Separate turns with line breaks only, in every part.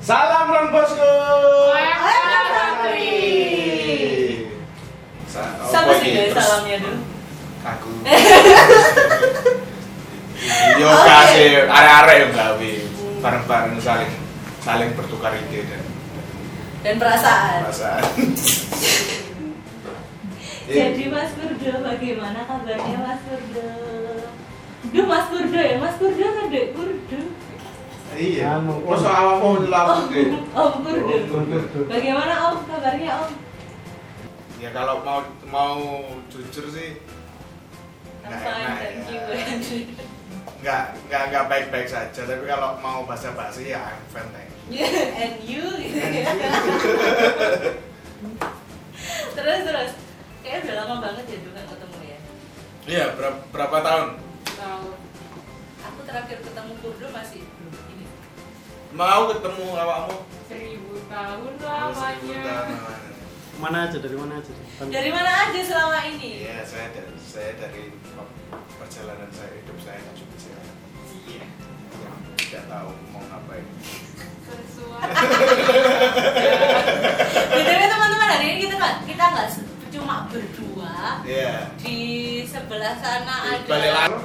Salam non bosku.
Salam, Santri.
Sa-
Sama
apa
sih
ini?
guys
Terus
salamnya dulu.
Aku. Yo kasih are-are yang gawe bareng-bareng saling saling bertukar ide dan
Dan perasaan.
perasaan.
Jadi
Eh,
Mas Kurdo bagaimana kabarnya Mas Kurdo? Duh Mas Kurdo ya, Mas Kurdo kan Dek Kurdo.
Iya.
Anu,
Oh, soal awakmu
Om,
lapor deh.
Om Kurdo.
Kurdo.
Bagaimana Om kabarnya Om?
Ya kalau mau mau jujur sih
I'm
Nah,
fine,
nah,
thank you.
ya. nggak nggak nggak baik-baik saja tapi kalau mau basa-basi ya I'm fine thank you.
And you gitu ya. Terus terus. Kayaknya udah lama banget ya dulu nggak ketemu ya.
Iya, berapa, berapa tahun?
Tahu. Aku terakhir ketemu Kurdo masih belum ini.
Mau ketemu awakmu?
Seribu tahun
Mana aja dari mana aja? Dari Tangerang.
Dari mana aja selama ini?
Iya, saya dari saya dari perjalanan saya hidup saya dan juga saya
Iya.
yang tidak Ya, tahu mau ngapain.
BTW teman-teman hari ini kita nggak kita nggak se- cuma berdua
Iya.
di sebelah sana ada
Balik lagi.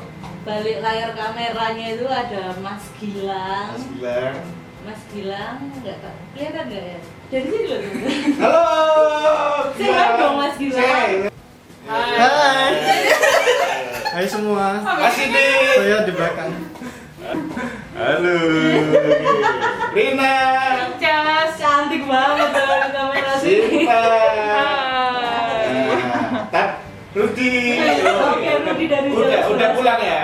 balik layar kameranya itu ada Mas Gilang
Mas bilang,
Mas Gilang nggak tahu kelihatan nggak ya dari sini loh teman-teman.
halo.
Say hi dong, Mas Gilang.
Hai.
Hai. Hai semua.
Masih di.
Saya di belakang.
Halo. Rina.
Cas cantik banget dalam kamera sini
Sinta.
Hai.
Nah, Tat. Rudi.
Oke, Rudi dari
Udah,
Jawa
udah
Selatan.
pulang ya.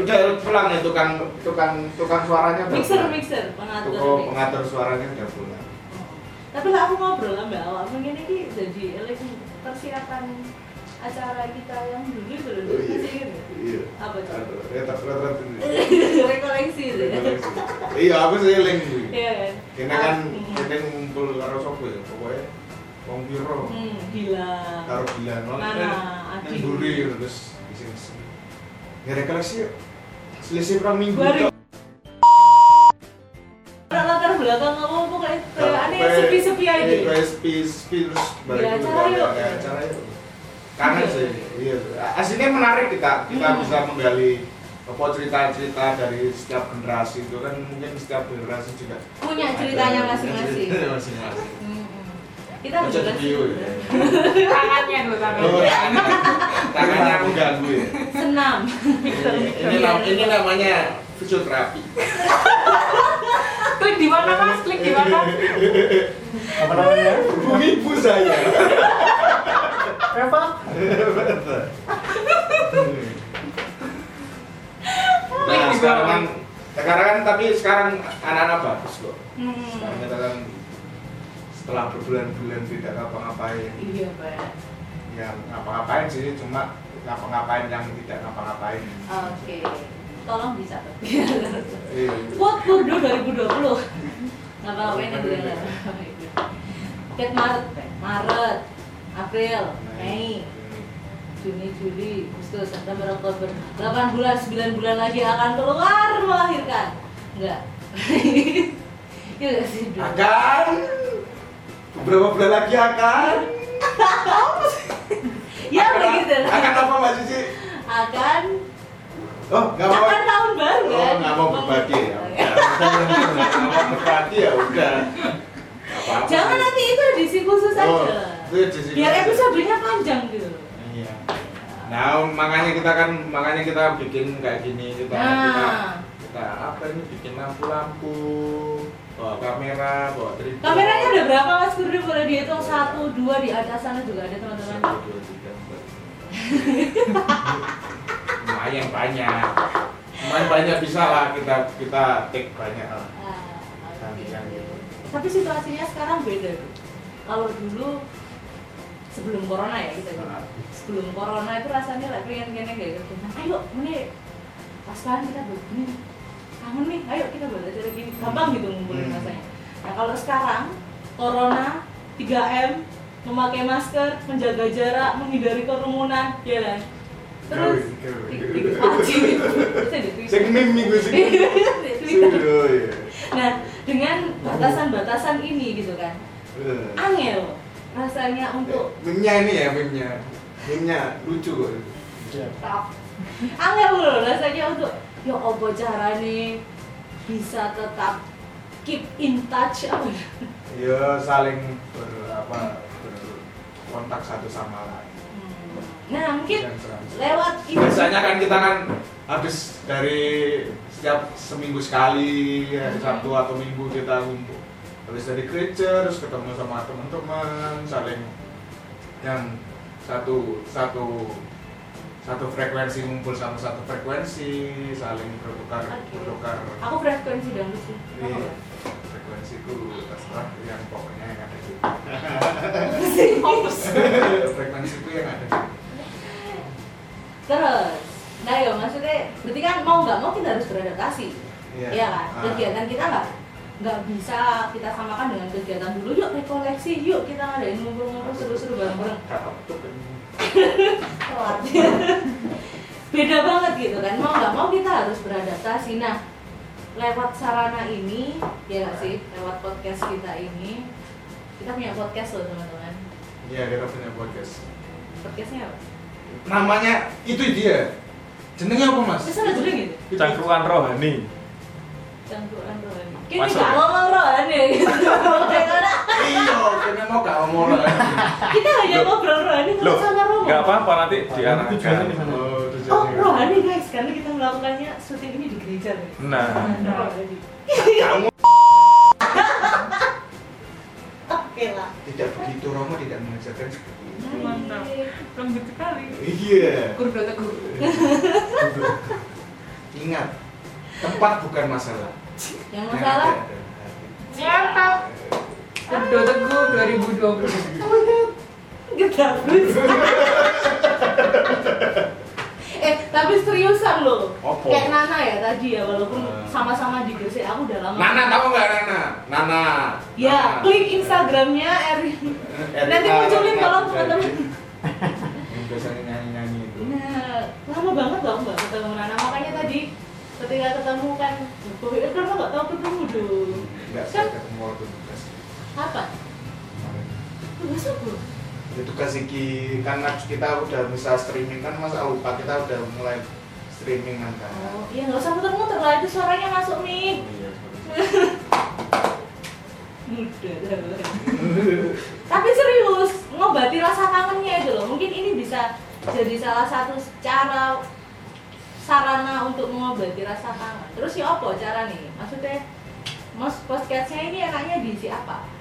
Udah pulang ya tukang tukang tukang suaranya. udah
mixer
pulang.
mixer pengatur
Toko
mixer.
pengatur suaranya udah pulang.
tapi lah aku ngobrol lah mbak awak mungkin ini jadi eling persiapan acara kita yang dulu itu loh
Oh, iya.
Masih ingat nggak?
Iya.
apa tuh Iya.
Aduh, ya, tak- tak- tak-
rekoleksi itu ya
Iya, aku seling.
Iya kan
Kena kan
Hmm.
kena ngumpul karo sapa ya, pokoknya wong piro.
hmm gila
Karo gila nol.
Nah,
nang-
nah,
nang
adil.
mburi, ya, terus iseng-iseng. Ya rekoleksi yuk. Selisih kurang minggu.
Baru- eh,
tok.
Orang latar belakang kamu apa kayak kayak aneh
Sampai-
sepi-sepi aja
Iya, kayak sepi-sepi terus baru
Ya,
itu
acara
ada-
yuk.
ada acara yuk. Kangen
Iya.
sih. Iya. Aslinya menarik kita. Kita
Hmm.
bisa menggali apa cerita-cerita dari setiap generasi itu kan mungkin setiap generasi juga
punya ceritanya
ada-
masing-masing
Ceritanya masing-masing.
Hmm, hmm. kita
Baca
juga sih
video ya.
tangannya dulu
Oh,
tangannya
tangannya tangannya aku ganggu ya.
senam Iya,
Ini, nam- ini namanya fisioterapi.
Ah, klik di mana mas klik di mana
Apa namanya?
Bumi ibu saya.
Eva.
nah, sekarang kan, sekarang kan tapi sekarang anak-anak bagus kok.
Hmm.
Sekarang kita kan setelah berbulan-bulan tidak ngapa-ngapain,
iya mbak
yang ngapa-ngapain sih cuma ngapa-ngapain yang tidak ngapa-ngapain.
oke tolong dicatat
Iya.
Quote Burdo 2020 Gak apa-apa ini gue yang lihat. Cat Maret, eh, Maret, April, Mei, Juni, Juli, Agustus, September, Oktober 8 bulan, 9 bulan lagi akan keluar melahirkan Enggak Iya gak sih? Dok?
Akan beberapa bulan lagi akan
Ya
akan,
begitu
akan apa Mbak Cici?
Akan
Oh, nggak mau.
Akan tahun baru
Oh,
kan?
nggak mau berbagi ya. Nggak mau berbagi ya udah. Nggak apa-apa.
Jangan nanti itu edisi khusus
Oh,
aja
itu edisi
Biar
khusus.
episodenya panjang gitu
Iya. Nah, makanya kita kan makanya kita bikin kayak gini kita kita,
Nah
kita apa ini bikin lampu-lampu, bawa kamera, bawa tripod.
Kameranya ada berapa Mas Kurdi boleh dihitung? Satu, dua di atas sana juga ada teman-teman.
Satu, dua, tiga, empat. Lumayan banyak. Lumayan banyak bisa lah kita kita take banyak lah.
Ah,
Cantik, cantik.
oke. Tapi situasinya sekarang beda. Bu. Kalau dulu sebelum corona ya kita bilang. Sebelum corona itu rasanya lah pengen pengen kayak gitu. Nah, ayo ini pas kan kita begini. Kangen nih, ayo kita belajar gini. Gampang gitu ngumpulin
Hmm.
rasanya. Nah kalau sekarang corona 3M memakai masker, menjaga jarak, menghindari kerumunan, ya kan? terus
Nah,
di
gitu.
di pancing itu di Twitter.
Sing meme nih gue sing.
Di Twitter.
Oh iya.
nah dengan batasan-batasan ini gitu kan
Eh.
angel rasanya untuk
Meme-nya ini ya meme-nya. Meme-nya lucu kok.
Iya.
top angel loh rasanya untuk ya apa carane bisa tetap keep in touch apa ya?
Ya saling ber apa berkontak satu sama lain.
Hmm. nah mungkin
Dan serang-
lewat ini
Iya. biasanya kan kita kan habis dari setiap seminggu sekali ya, Sabtu atau Minggu kita ngumpul habis dari gereja terus ketemu sama teman-teman saling yang satu satu satu frekuensi ngumpul sama satu frekuensi saling bertukar
Oke.
bertukar
aku frekuensi dangdut sih
Iya.
Apa?
frekuensiku terserah yang pokoknya yang ada di
Fokus.
frekuensiku yang ada di
terus nah ya maksudnya berarti kan mau nggak mau kita harus beradaptasi
Iya.
Iya kan?
Ah.
Kegiatan kita nggak nggak bisa kita samakan dengan kegiatan dulu. Yuk rekoleksi, yuk kita ngadain ngumpul-ngumpul seru-seru bareng-bareng.
Cakep tuh kan.
Telat. Beda banget gitu kan. Mau nggak mau kita harus beradaptasi. Nah, lewat sarana ini, ya nggak sih, lewat podcast kita ini, kita punya podcast loh teman-teman.
Iya, kita punya podcast.
Podcastnya apa?
Namanya itu dia. Jenengnya apa, Mas?
Terus ada jeneng gitu.
Cangkruan rohani.
Cangkruan rohani. Kayaknya
Masuk.
nggak ngomong rohani gitu. Kayak mana?
Iya, kayaknya mau gak ngomong lagi.
Kita hanya ngobrol rohani terus sama Romo.
nggak apa-apa nanti
Karena
diarahkan
tujuannya di mana?
Oh,
Oh,
tujuannya.
rohani guys, karena kita melakukannya syuting ini di gereja guys.
nah
Rohani.
Kamu
Oke lah.
tidak begitu Romo tidak mengajarkan seperti itu.
Mantap. Lembut sekali.
Iya.
Guru Dota Guru.
Ingat, tempat bukan masalah.
Yang masalah
Nyantap. Guru Dota Guru 2020.
gedabut. eh, tapi seriusan loh.
Apa?
Kayak Nana ya tadi ya, walaupun
Eh.
sama-sama di Gresik aku udah lama.
Nana tahu nggak Nana? Nana. Eh,
Ya, klik Instagramnya Erin. Nanti munculin kalau teman-teman.
Yang biasanya nyanyi-nyanyi itu.
Nah, lama banget dong nggak ketemu Nana. Makanya tadi ketika ketemu kan, "Duh, eh, kenapa nggak tahu ketemu dong? Kan,
Enggak, saya ketemu waktu tugas
Apa?
kemarin.
Tugas apa?
Ya, tugas iki kan kita udah bisa streaming kan mas lupa kita udah mulai streamingan kan
Oh, iya nggak usah muter-muter lah itu suaranya masuk nih.
Iya.
Muda. Tapi serius, ngobati rasa kangennya itu loh. Mungkin ini bisa jadi salah satu cara sarana untuk mengobati rasa kangen. Terus ya apa cara nih? Maksudnya mas podcastnya ini enaknya diisi apa?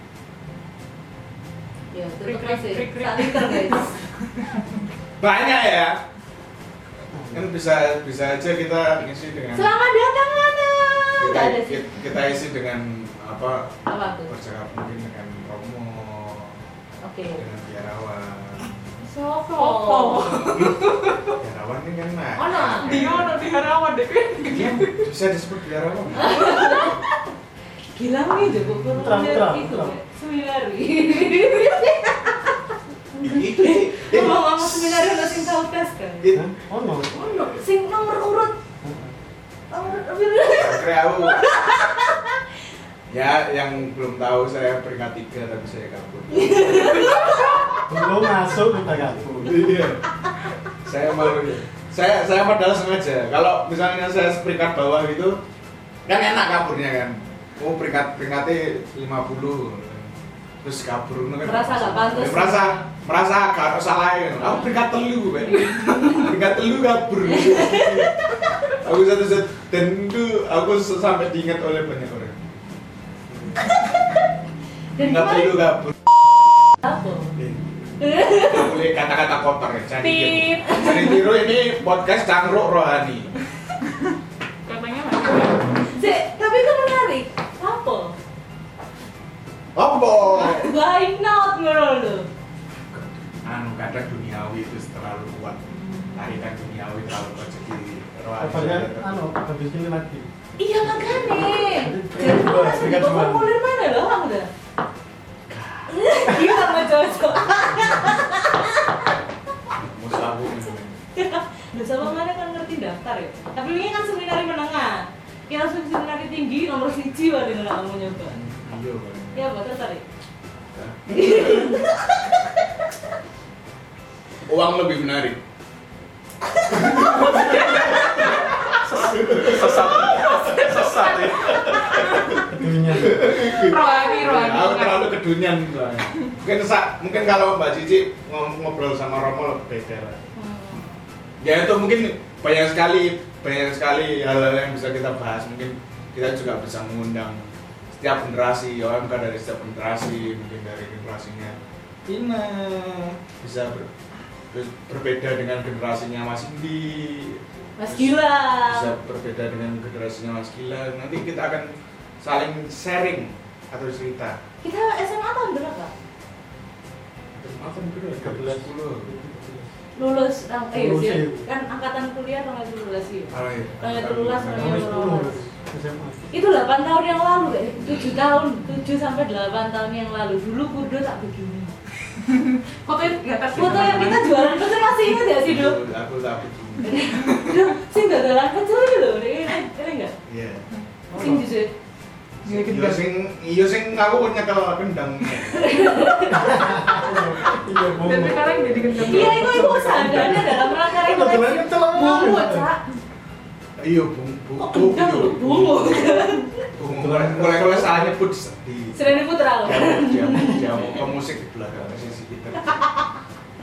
Ya, tutup
Krik, krik,
sih.
krik, krik.
Saling terguys.
banyak ya kan bisa bisa aja kita isi dengan
Selamat datang Nana.
kita,
Iya,
Nggak ada sih.
kita- kita isi dengan apa
Apa tuh?
bercakap mungkin dengan Romo
Oke.
dengan biarawan
Sopo.
Sopo.
biarawan ini kan nah
Oh, no.
Di mana di Harawan deh.
Iya, bisa disebut biarawan
Gila nih deh Bogor
Terang,
lihat
terang,
itu gitu,
terang.
Mbak. seminari.
itu sih Eh,
Ngomong-ngomong seminari udah sing tahu tes kan.
it-
Oh no.
Ono sing nomor urut nomor
Sakre aku. ya yang belum tahu saya peringkat tiga tapi saya kabur
Belum masuk kita gabung.
iya saya malu ya. saya saya padahal sengaja kalau misalnya saya peringkat bawah gitu kan enak kaburnya kan oh peringkat peringkatnya 50 terus kabur itu kan
Merasa nggak pantas.
Ya, merasa merasa gak salah kan aku peringkat telu Pak. peringkat telu kabur aku satu satu dan itu aku sampai diingat oleh banyak orang
Dan
peringkat telu kabur
apa?
Nggak boleh kata-kata kotor ya cari tiru. Cari tiru ini podcast cangkruk rohani
Katanya macam.
Sik, tapi itu menarik. Apa?
Apa?
Why not ngono lho.
Anu kadang duniawi itu terlalu kuat Tarikan duniawi terlalu kuat jadi rohani
Kabarnya, anu, habis ini lagi.
Iya makanya.
Peringkat
Jadi aku
dua,
langsung
peringkat dua.
populer mana loh aku dah. Iya sama cocok.
Musahu
Dasar mana kan ngerti daftar ya. Tapi ini kan seminari menengah. Ya langsung seminari tinggi nomor siji waduh nggak kamu nyoba.
Iya, Pak.
Ya apa tertarik?
Hah? Uang lebih menarik.
sesat sesat ya
Kedunya.
rohani rohani
Aku terlalu kedunian soalnya. kan. Mungkin sa- mungkin kalau Mbak Cici ngom- ngobrol sama Romo lebih beda. lah. Ya itu mungkin banyak sekali banyak sekali hal-hal yang bisa kita bahas. Mungkin kita juga bisa mengundang setiap generasi OMK dari setiap generasi mungkin dari generasinya Tina bisa ber- ber- berbeda dengan generasinya Mas Indi
Mas
Terus-
Gila.
bisa berbeda dengan generasinya Mas Gilang. Nanti kita akan saling sharing atau cerita.
Kita SMA tahun berapa?
Makan dulu,
13.
10.
Lulus ah, eh
Lulus,
sih.
iya.
kan angkatan kuliah tanggal 17 ya.
Oh, iya.
Tanggal 13
Nomor
Iya.
10 SMA.
Itu 8 tahun yang lalu kayak 7 tahun, 7 sampai 8 tahun yang lalu. Dulu kudo tak begini.
foto yang di atas
Foto yang kita jualan pecel masih ingat ya
Iya.
sih, Dok?
Aku tak begini.
Duh, sing dadalan pecel iki lho, ini ini enggak?
Iya.
Sing jujur.
Iya, gitu.
Iya sing iya sing aku nyekel kendang.
Iya, bohong.
tapi kalian jadi kenceng
Iya, itu itu kesadarannya dalam rangka
Kan dadalan
refleksi.
pecel, Mas.
Bungu, Cak.
Iya, bung bung
Kok gendang lho, bungu.
Mulai mulai salah nyebut di
Sereni Putra lho.
Iya. dia mau ke musik di belakang sisi kita.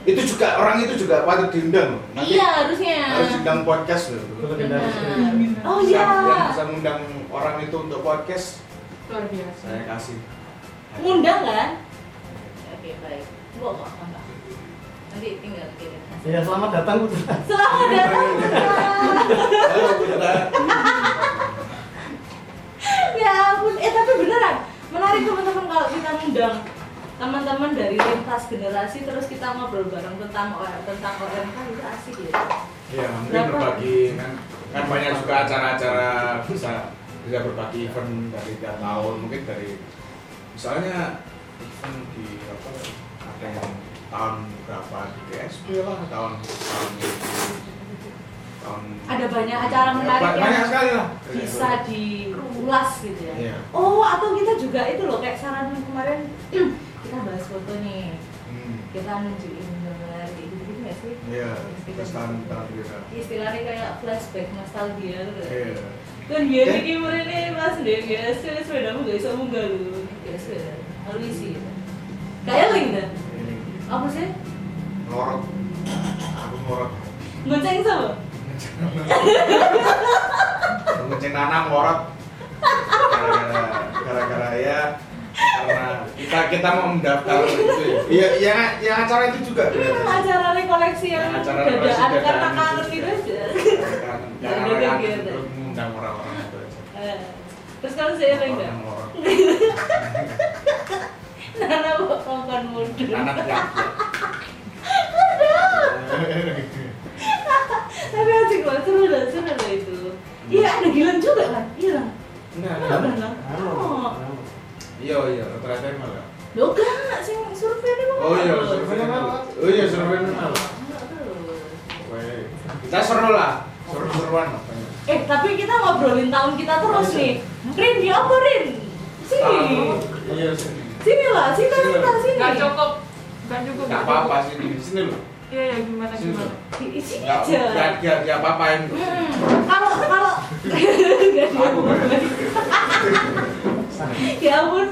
Itu juga orang itu juga patut diundang. loh. Nanti
Iya, harusnya.
harus diundang podcast loh.
Kalau kendala sendiri.
Benar. Oh
Siapa Yang
iya.
bisa ngundang orang itu untuk podcast,
luar biasa
saya kasih.
Ngundang kan? Oke, baik. Gua kok tambah. Nanti tinggal kirim.
Iya, selamat datang Putra.
Selamat datang. Putra.
Halo, Putra.
ya ampun, eh tapi beneran menarik teman-teman kalau kita ngundang teman-teman dari lintas generasi terus kita ngobrol bareng tentang orang tentang orang kan itu asik ya
Ya, mungkin
Berapa?
berbagi kan, kan banyak juga acara-acara bisa bisa berbagi event dari tiap tahun, mungkin dari misalnya event di apa ada yang tahun berapa di GSP lah, tahun tahun tahun
Ada banyak acara
Ya,
menarik
banyak
yang
sekali lah
bisa diulas gitu ya
Iya.
oh atau kita juga itu loh kayak saran kemarin kita bahas foto nih
Hmm,
kita nunjukin gambar gitu gitu nggak sih gitu.
Iya, kita tahun tahun kita.
istilahnya kayak flashback nostalgia gitu ya.
Iya.
kan biar iki mrene pas ndek guys sepedamu gak iso munggah gitu. lho guys halu isi kayak link dah
Ini
apa sih
ngorok, aku ngorok.
gonceng sama
ngecek nanang ngorot gara-gara gara-gara ya karena kita kita mau mendaftar gitu ya iya iya iya acara itu juga
acara rekoleksi yang
Acara rekoleksi ya.
dadaan karena
dadaan
kangen
itu
gitu aja
Kan, karena
Udah, udah,
orang terus mengundang orang-orang
gitu.
itu aja
Eh, terus kamu saya link dah
Orang ngorok
nana kok kongkon mundur
anak
tapi asik banget seru dah seru dah itu iya ada gilan juga kan iya lah
nah
Kenapa, Nang?
Halo.
iya iya ternyata emang lah
lo gak sih survei ini mau
oh iya
nggak, Bos?
survei oh iya survei emang lah
Nggak, terus.
Weh, kita seru lah seru-seruan lah pokoknya.
Eh, tapi kita ngobrolin tahun kita terus nih. Rin, ya apa Rin? Sini.
Tahu. iya sini
Sini lah, sini kita sini.
nggak cukup nggak cukup
nggak apa-apa sini sini loh
iya ya gimana
sini
gimana
loh
Di- Sini
nggak
aja.
nggak nggak nggak apa-apain
Hmm, Kalau kalau Nggak
Aku
diomongin. ya ampun,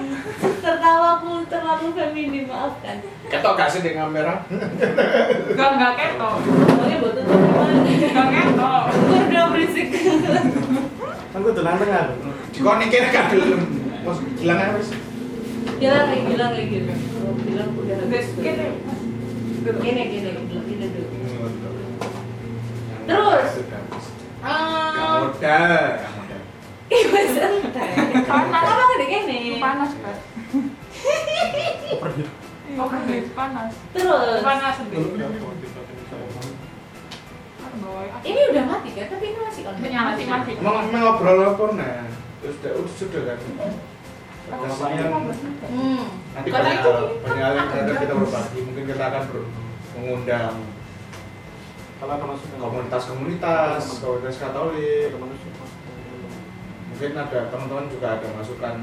tertawaku terlalu feminin, maafkan.
ketok gak sih dengan merah
nggak nggak ketok
Soalnya buat tutup teman.
nggak ketok
Gue udah berisik.
Kan gue tenang tengah.
dikon iki gak gelem terus bilang aja wis
Gila nih, gila nih, gila. Gila gitu. udah
guys gini
Gini, gini, gini dulu. Terus?
kamu
Ah,
udah kamu udah
Ih, wes entek.
Panas.
Kenapa gede gini?
panas kan
Overheat.
oh kan panas
Terus.
panas
Dulu
sendiri
berapa? Tiga puluh satu.
Ini udah mati kan? Tapi ini masih on.
Menyala sih masih
emang emang ngobrol apa nah terus udah udah sudah kan Rasanya
Hmm.
nanti
Karena
banyak
itu
banyak hal yang akan kita berbagi mungkin kita akan ber- mengundang
Kalau ada masukan.
komunitas-komunitas komunitas Katolik
Ada masukan.
mungkin ada teman-teman juga ada masukan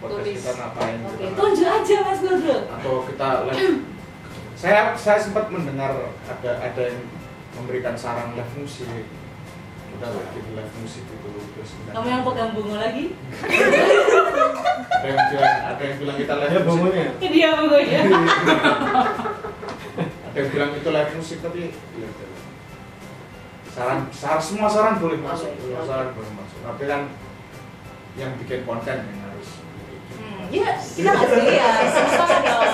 podcast
Tulis.
kita ngapain
Oke,
gitu.
tunjuk aja Mas Gordro.
atau kita live saya saya sempat mendengar ada ada yang memberikan saran live musik kita bikin live musik itu terus kita-
Kamu yang ya? pegang bunga lagi?
ada yang bilang ada yang bilang kita live
Ya
musik
bangunnya.
Ini dia
ya.
bunganya.
ada yang bilang itu live musik tapi ya, ya. saran saran semua saran boleh masuk
Boleh,
semua
oke.
saran boleh masuk tapi kan yang bikin konten yang harus
Hmm, ya kita nggak sih ya, sama-sama dong.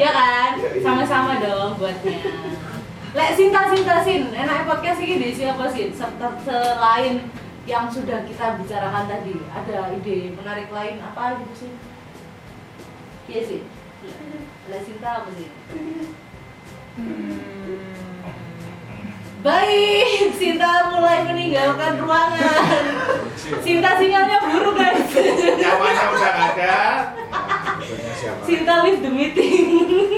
Ya kan, sama-sama dong buatnya. Lek Sinta Sinta Sin, enaknya podcast ini diisi apa sih? Serta- Selain yang sudah kita bicarakan tadi, ada ide menarik lain apa gitu sih? Iya sih. Lek Sinta apa sih? Baik, Sinta mulai meninggalkan ruangan. Sinta sinyalnya buruk guys.
Nyawanya udah nggak ada.
Maksudnya siapa?
Sinta leave the meeting.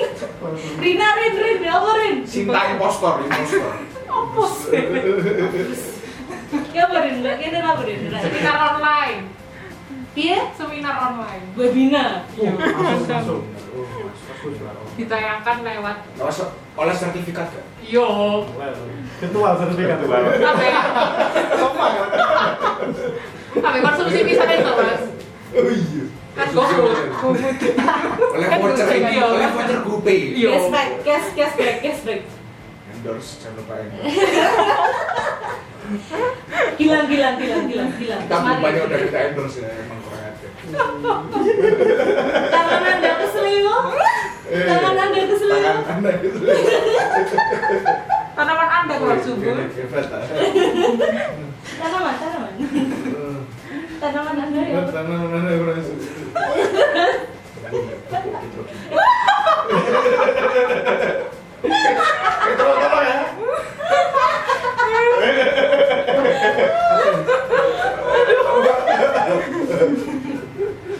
Rina, Rin, Rin, ya apa Rin?
Sinta impostor, impostor.
Apa sih? Ya apa Rin, Mbak? Kita apa Rin? Nah, kan-
Seminar online.
Iya?
Seminar online.
Webinar.
Uh, masuk, masuk.
Oh, masuk, masuk.
Ditayangkan lewat
Terus oleh sertifikat gak?
Yo.
Well, Ketua sertifikat.
Ketua.
Tapi tapi konsumsi bisa deh Mas.
Oh iya.
Kan GoFood. GoFood.
Oleh
Kan
voucher
dulu
ini,
juga.
oleh voucher GoPay.
Iya.
Cashback, cash, cashback, cashback.
Endorse jangan lupa endorse.
Hilang, hilang, hilang, hilang, hilang.
Kita
Kemarin.
bukannya udah kita endorse ya emang kurang aja.
Tangan anda keselingkuh.
Eh,
Tangan anda keselingkuh.
Tangan anda itu.
Tanaman Anda keluar subur.
Hebat, ah.
Tanaman, tanaman. Tanaman anda ya.
Hebat, tangan anda kurang subur. Eh, tolong-tolong ya.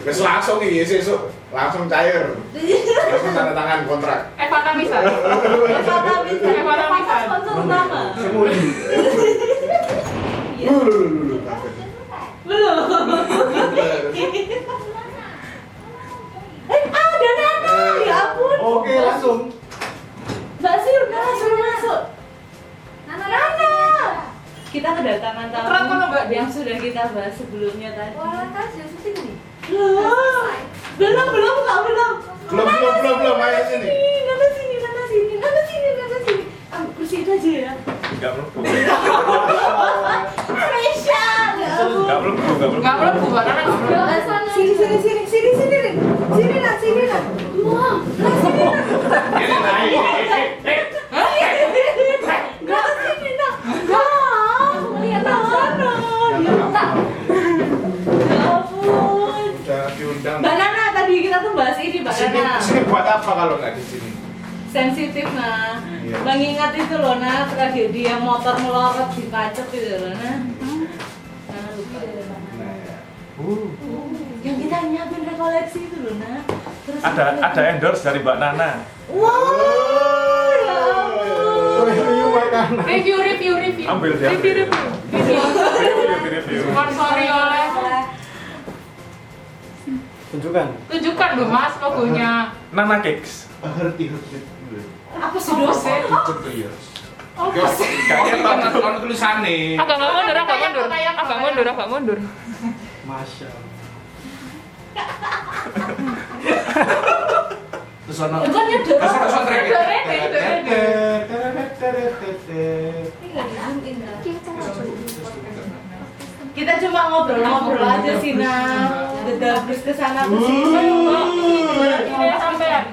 Wes langsung iki sesuk langsung cair. Langsung tanda tangan kontrak.
Evana bisa.
Eh, Evata bisa, Evata bisa. Sponsor utama.
Semua ini.
Iya.
Lu lu lu lu takut.
Belum. Eh, ada Nana. Ya ampun.
Oke, langsung.
Mbak Sir, udah langsung masuk. Nana, Nana. Kita kedatangan
Terang kono,
tamu
Mbak.
yang sudah kita bahas sebelumnya tadi.
Wah, kan sudah syuting nih.
Belum, belum, belum, Kak, belum.
Belum
Nana
belum
sini,
belum belum ayo
Nana
sini.
sini, Nana sini, Nana sini, Nana sini, Nana sini. Ah, kursi itu aja ya.
Enggak melebu.
Fresia, ya ampun.
Enggak melebu, enggak melebu.
Enggak perlu buat anak nggak perlu.
Belum sana.
Sini, sini, sini, sini, sini, Rin. sini, Nak, sini, Nak. Wah, Nak, sini, Nak.
Ini naik.
Nggak sini, Nak. Nggak.
Lihat,
Nggak, Nak. Ya ampun.
Udah diundang.
Mbak Nana, tadi kita tuh bahas ini, Mbak
Sini
Nana.
sini buat apa kalau nggak di sini?
Sensitif, nah.
Iya.
Mengingat itu loh, nah, tragedi yang motor melorot di pacet itu loh, nah.
Hmm.
Nah, lupa.
Nah, ya.
Uh,
Yang kita nyiapin rekoleksi itu loh, nah. Terus
Ada ada endorse dari Mbak Nana.
Wow, ya ampun.
review makanan.
Review, review, review.
Ambil dia.
Review, review.
Review.
Sponsori oleh.
Tunjukkan.
Tunjukkan dong Mas logonya.
Nana Cakes.
Ngerti ngerti.
Apa sih dosen?
Cocok ya.
Apa sih?
Kayaknya tahu kan tulisannya.
Agak nggak mundur, agak mundur, agak mundur, agak mundur.
Masya Allah.
Terus ono.
Ya kan nyedot.
Terus ono soundtrack.
Udah ready, udah ready.
Ini nggak di zoom in dah.
Kita cuma ngobrol-ngobrol aja sih, nah. Dedabris ke sana
Hmm.
ke sini.
Kayak sampean.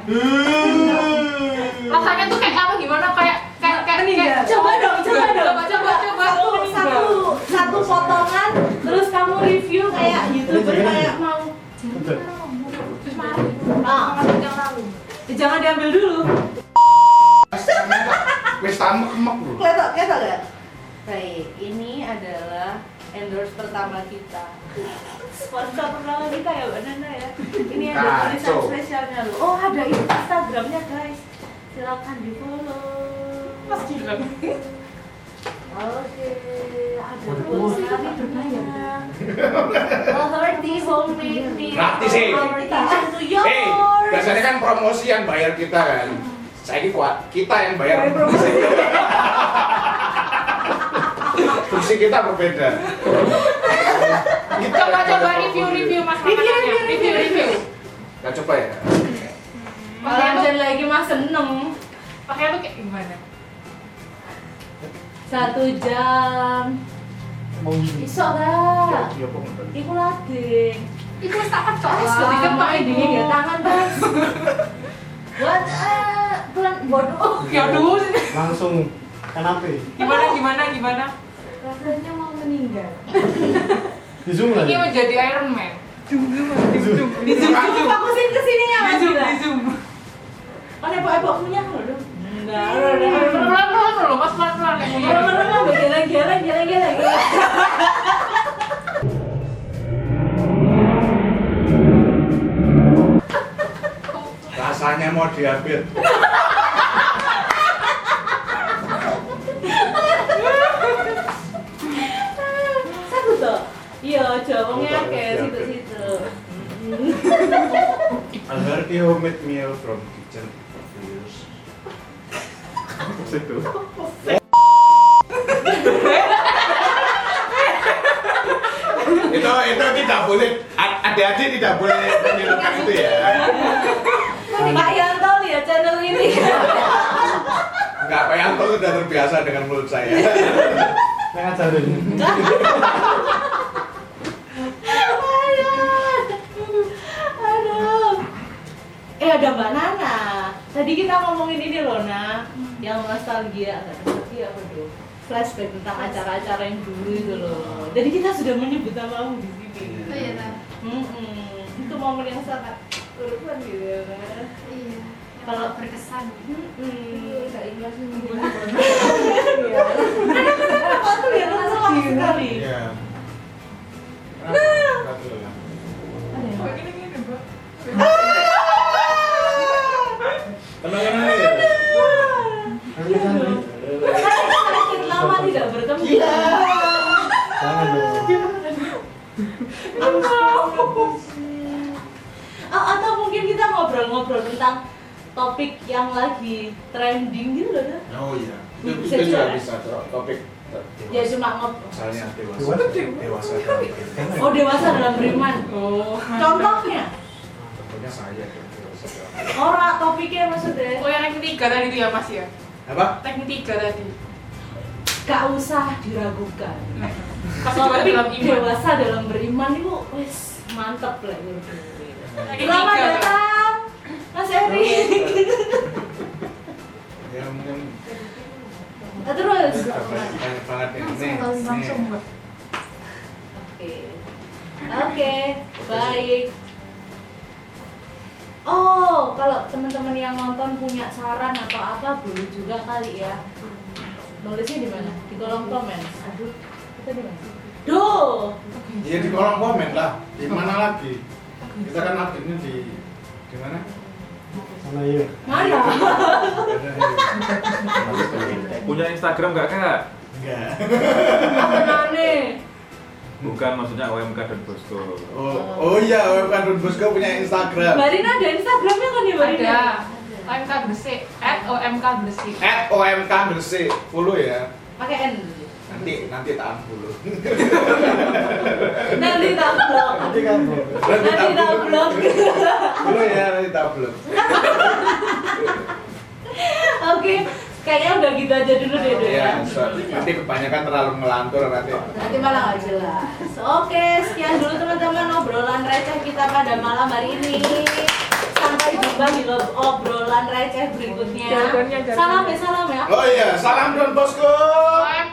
Rasanya tuh kayak apa gimana? Kayak kayak kayak
ya.
kayak-
Coba dong, coba dong.
Coba, coba, coba.
Satu, satu, satu potongan, terus kamu review kayak youtuber kayak mau.
Terus marah.
Ah, Eh, jangan diambil dulu.
Wis tamek emek lho.
Kelihatan, kelihatan nggak? Baik, ini adalah endorse pertama kita. Sponsor pertama kita ya, Mbak Nana ya. Ini ada
Kacau.
tulisan spesialnya loh. Oh, ada ini Instagramnya guys. Silakan di follow.
Mas Gilang.
Oke, ada
Waduh.
dua sekali bertanya. Poverty homemade meal.
Praktis, eh.
Poverty to
Hei,
yours.
biasanya kan promosi yang bayar kita kan. Saya ini kuat, kita yang bayar.
Bayar promosi.
Fungsi kita berbeda. Kita
Coba
yang
coba
bayar
review
promosi.
review mas makanannya. Review review.
Nah, coba ya.
Makanya tuh
Malam lagi mas seneng
makanya tuh kayak gimana?
Satu jam
mau gini
Bisa gak?
Ya, apa nggak tahu.
Iku lagi
Itu tak kecok
Wah,
seperti gempa
main
ini.
dingin ya tangan mas Buat eh, bulan bodoh
Ya aduh.
langsung kanape
Gimana gimana gimana?
Rasanya mau meninggal.
di zoom
Ini
lagi
menjadi Iron Man. Zoom zoom zoom zoom. Di zoom di zoom.
Aku sih kesini ya
Di
mas
zoom di zoom.
Kan epok-epok punya aku loh Enggak, udah, udah.
Pelan pelan loh mas pelan pelan.
Orang-orang lagi gila-gila, gila-gila, gila
Rasanya mau diambil.
Satu tuh? Iya, jawabnya kayak situ-situ
Alberti homemade meal from kitchen. Yes. Situ. itu itu tidak boleh adik-adik tidak boleh menyerukan itu ya
Pak Yanto lihat channel ini
Enggak, Pak Yanto sudah terbiasa dengan mulut saya.
Iya.
yang ngajarin
Aduh. Aduh. Eh ada Mbak Nana. Tadi kita ngomongin ini loh, Nah, yang nostalgia, nggak nostalgia apa tuh? Flashback tentang acara-acara yang dulu itu loh. Jadi kita sudah menyebut namamu di sini.
Oh iya, Tan.
Mm-mm. Itu momen yang sangat berkesan gitu ya. Nah.
Iya.
Kalau-
Kalau berkesan.
Mm-mm.
Enggak ikhlas meninggal.
Iya. Apa tuh ya langsung lama sekali.
Iya.
Gini gini bro.
Tenang-tenang aja.
Ayo, jangan dong.
Karena kita makin lama tidak bertemu.
jangan dong
Oh, atau mungkin kita ngobrol-ngobrol tentang topik yang lagi trending gitu loh. Dah.
Oh iya. Itu
Bisa
itu juga
juga.
bisa tuh, topik
Ya cuma ngobrol.
misalnya dewasa.
Dewasa.
Dewasa dalam kehidupan.
Oh dewasa dalam beriman.
Oh.
Contohnya,
Tentunya saya tuh, dewasa dalam kehidupan.
orang topiknya maksudnya
Oh yang ranking tiga tadi itu ya mas ya?
Apa?
Ranking tiga tadi.
gak usah diragukan.
Pas juara
Topik
dalam iman.
dewasa dalam beriman itu wes mantep lah gitu.
Ranking
Selamat
tiga.
datang, Mas Eri.
Ya Iya, mungkin
Nah, Terus.
banyak banget yang ini. Iya,
Langsung langsung langsung Mbak.
Oke, oke, baik. Oh, kalau teman-teman yang nonton punya saran atau apa, boleh juga kali ya. Nulisnya di mana? Di kolom komen. Aduh, kita di mana? Duh,
Ya di kolom komen lah. Di mana lagi? Kita kan update-nya di di mana?
mana yuk
mana?
Punya Instagram nggak kak?
Enggak.
Apa nane?
Bukan maksudnya OMK dan Bosco.
Oh, oh iya, WFK Don Bosco punya Instagram.
Mbak Rina ada Instagramnya kan ya, Mbak Rina?
Ada. OMK Gresik. At OMK Gresik.
At OMK Gresik, follow ya.
Pakai N.
Nanti nanti tak follow.
Nanti tak blok.
nanti kan bro.
Nanti
Nanti tak blok.
Follow ya, nanti tak blok.
Oke, kayaknya udah gitu aja dulu deh, Dok, ya.
Iya, so- nanti kebanyakan terlalu ngelantur nanti.
Nanti malah nggak jelas. Oke, sekian dulu teman-teman obrolan receh kita pada malam hari ini. Sampai jumpa di lo- obrolan receh berikutnya.
Jargonnya, jargonnya.
Salam ya, salam ya.
Oh iya, salam Don Bosco.
OMK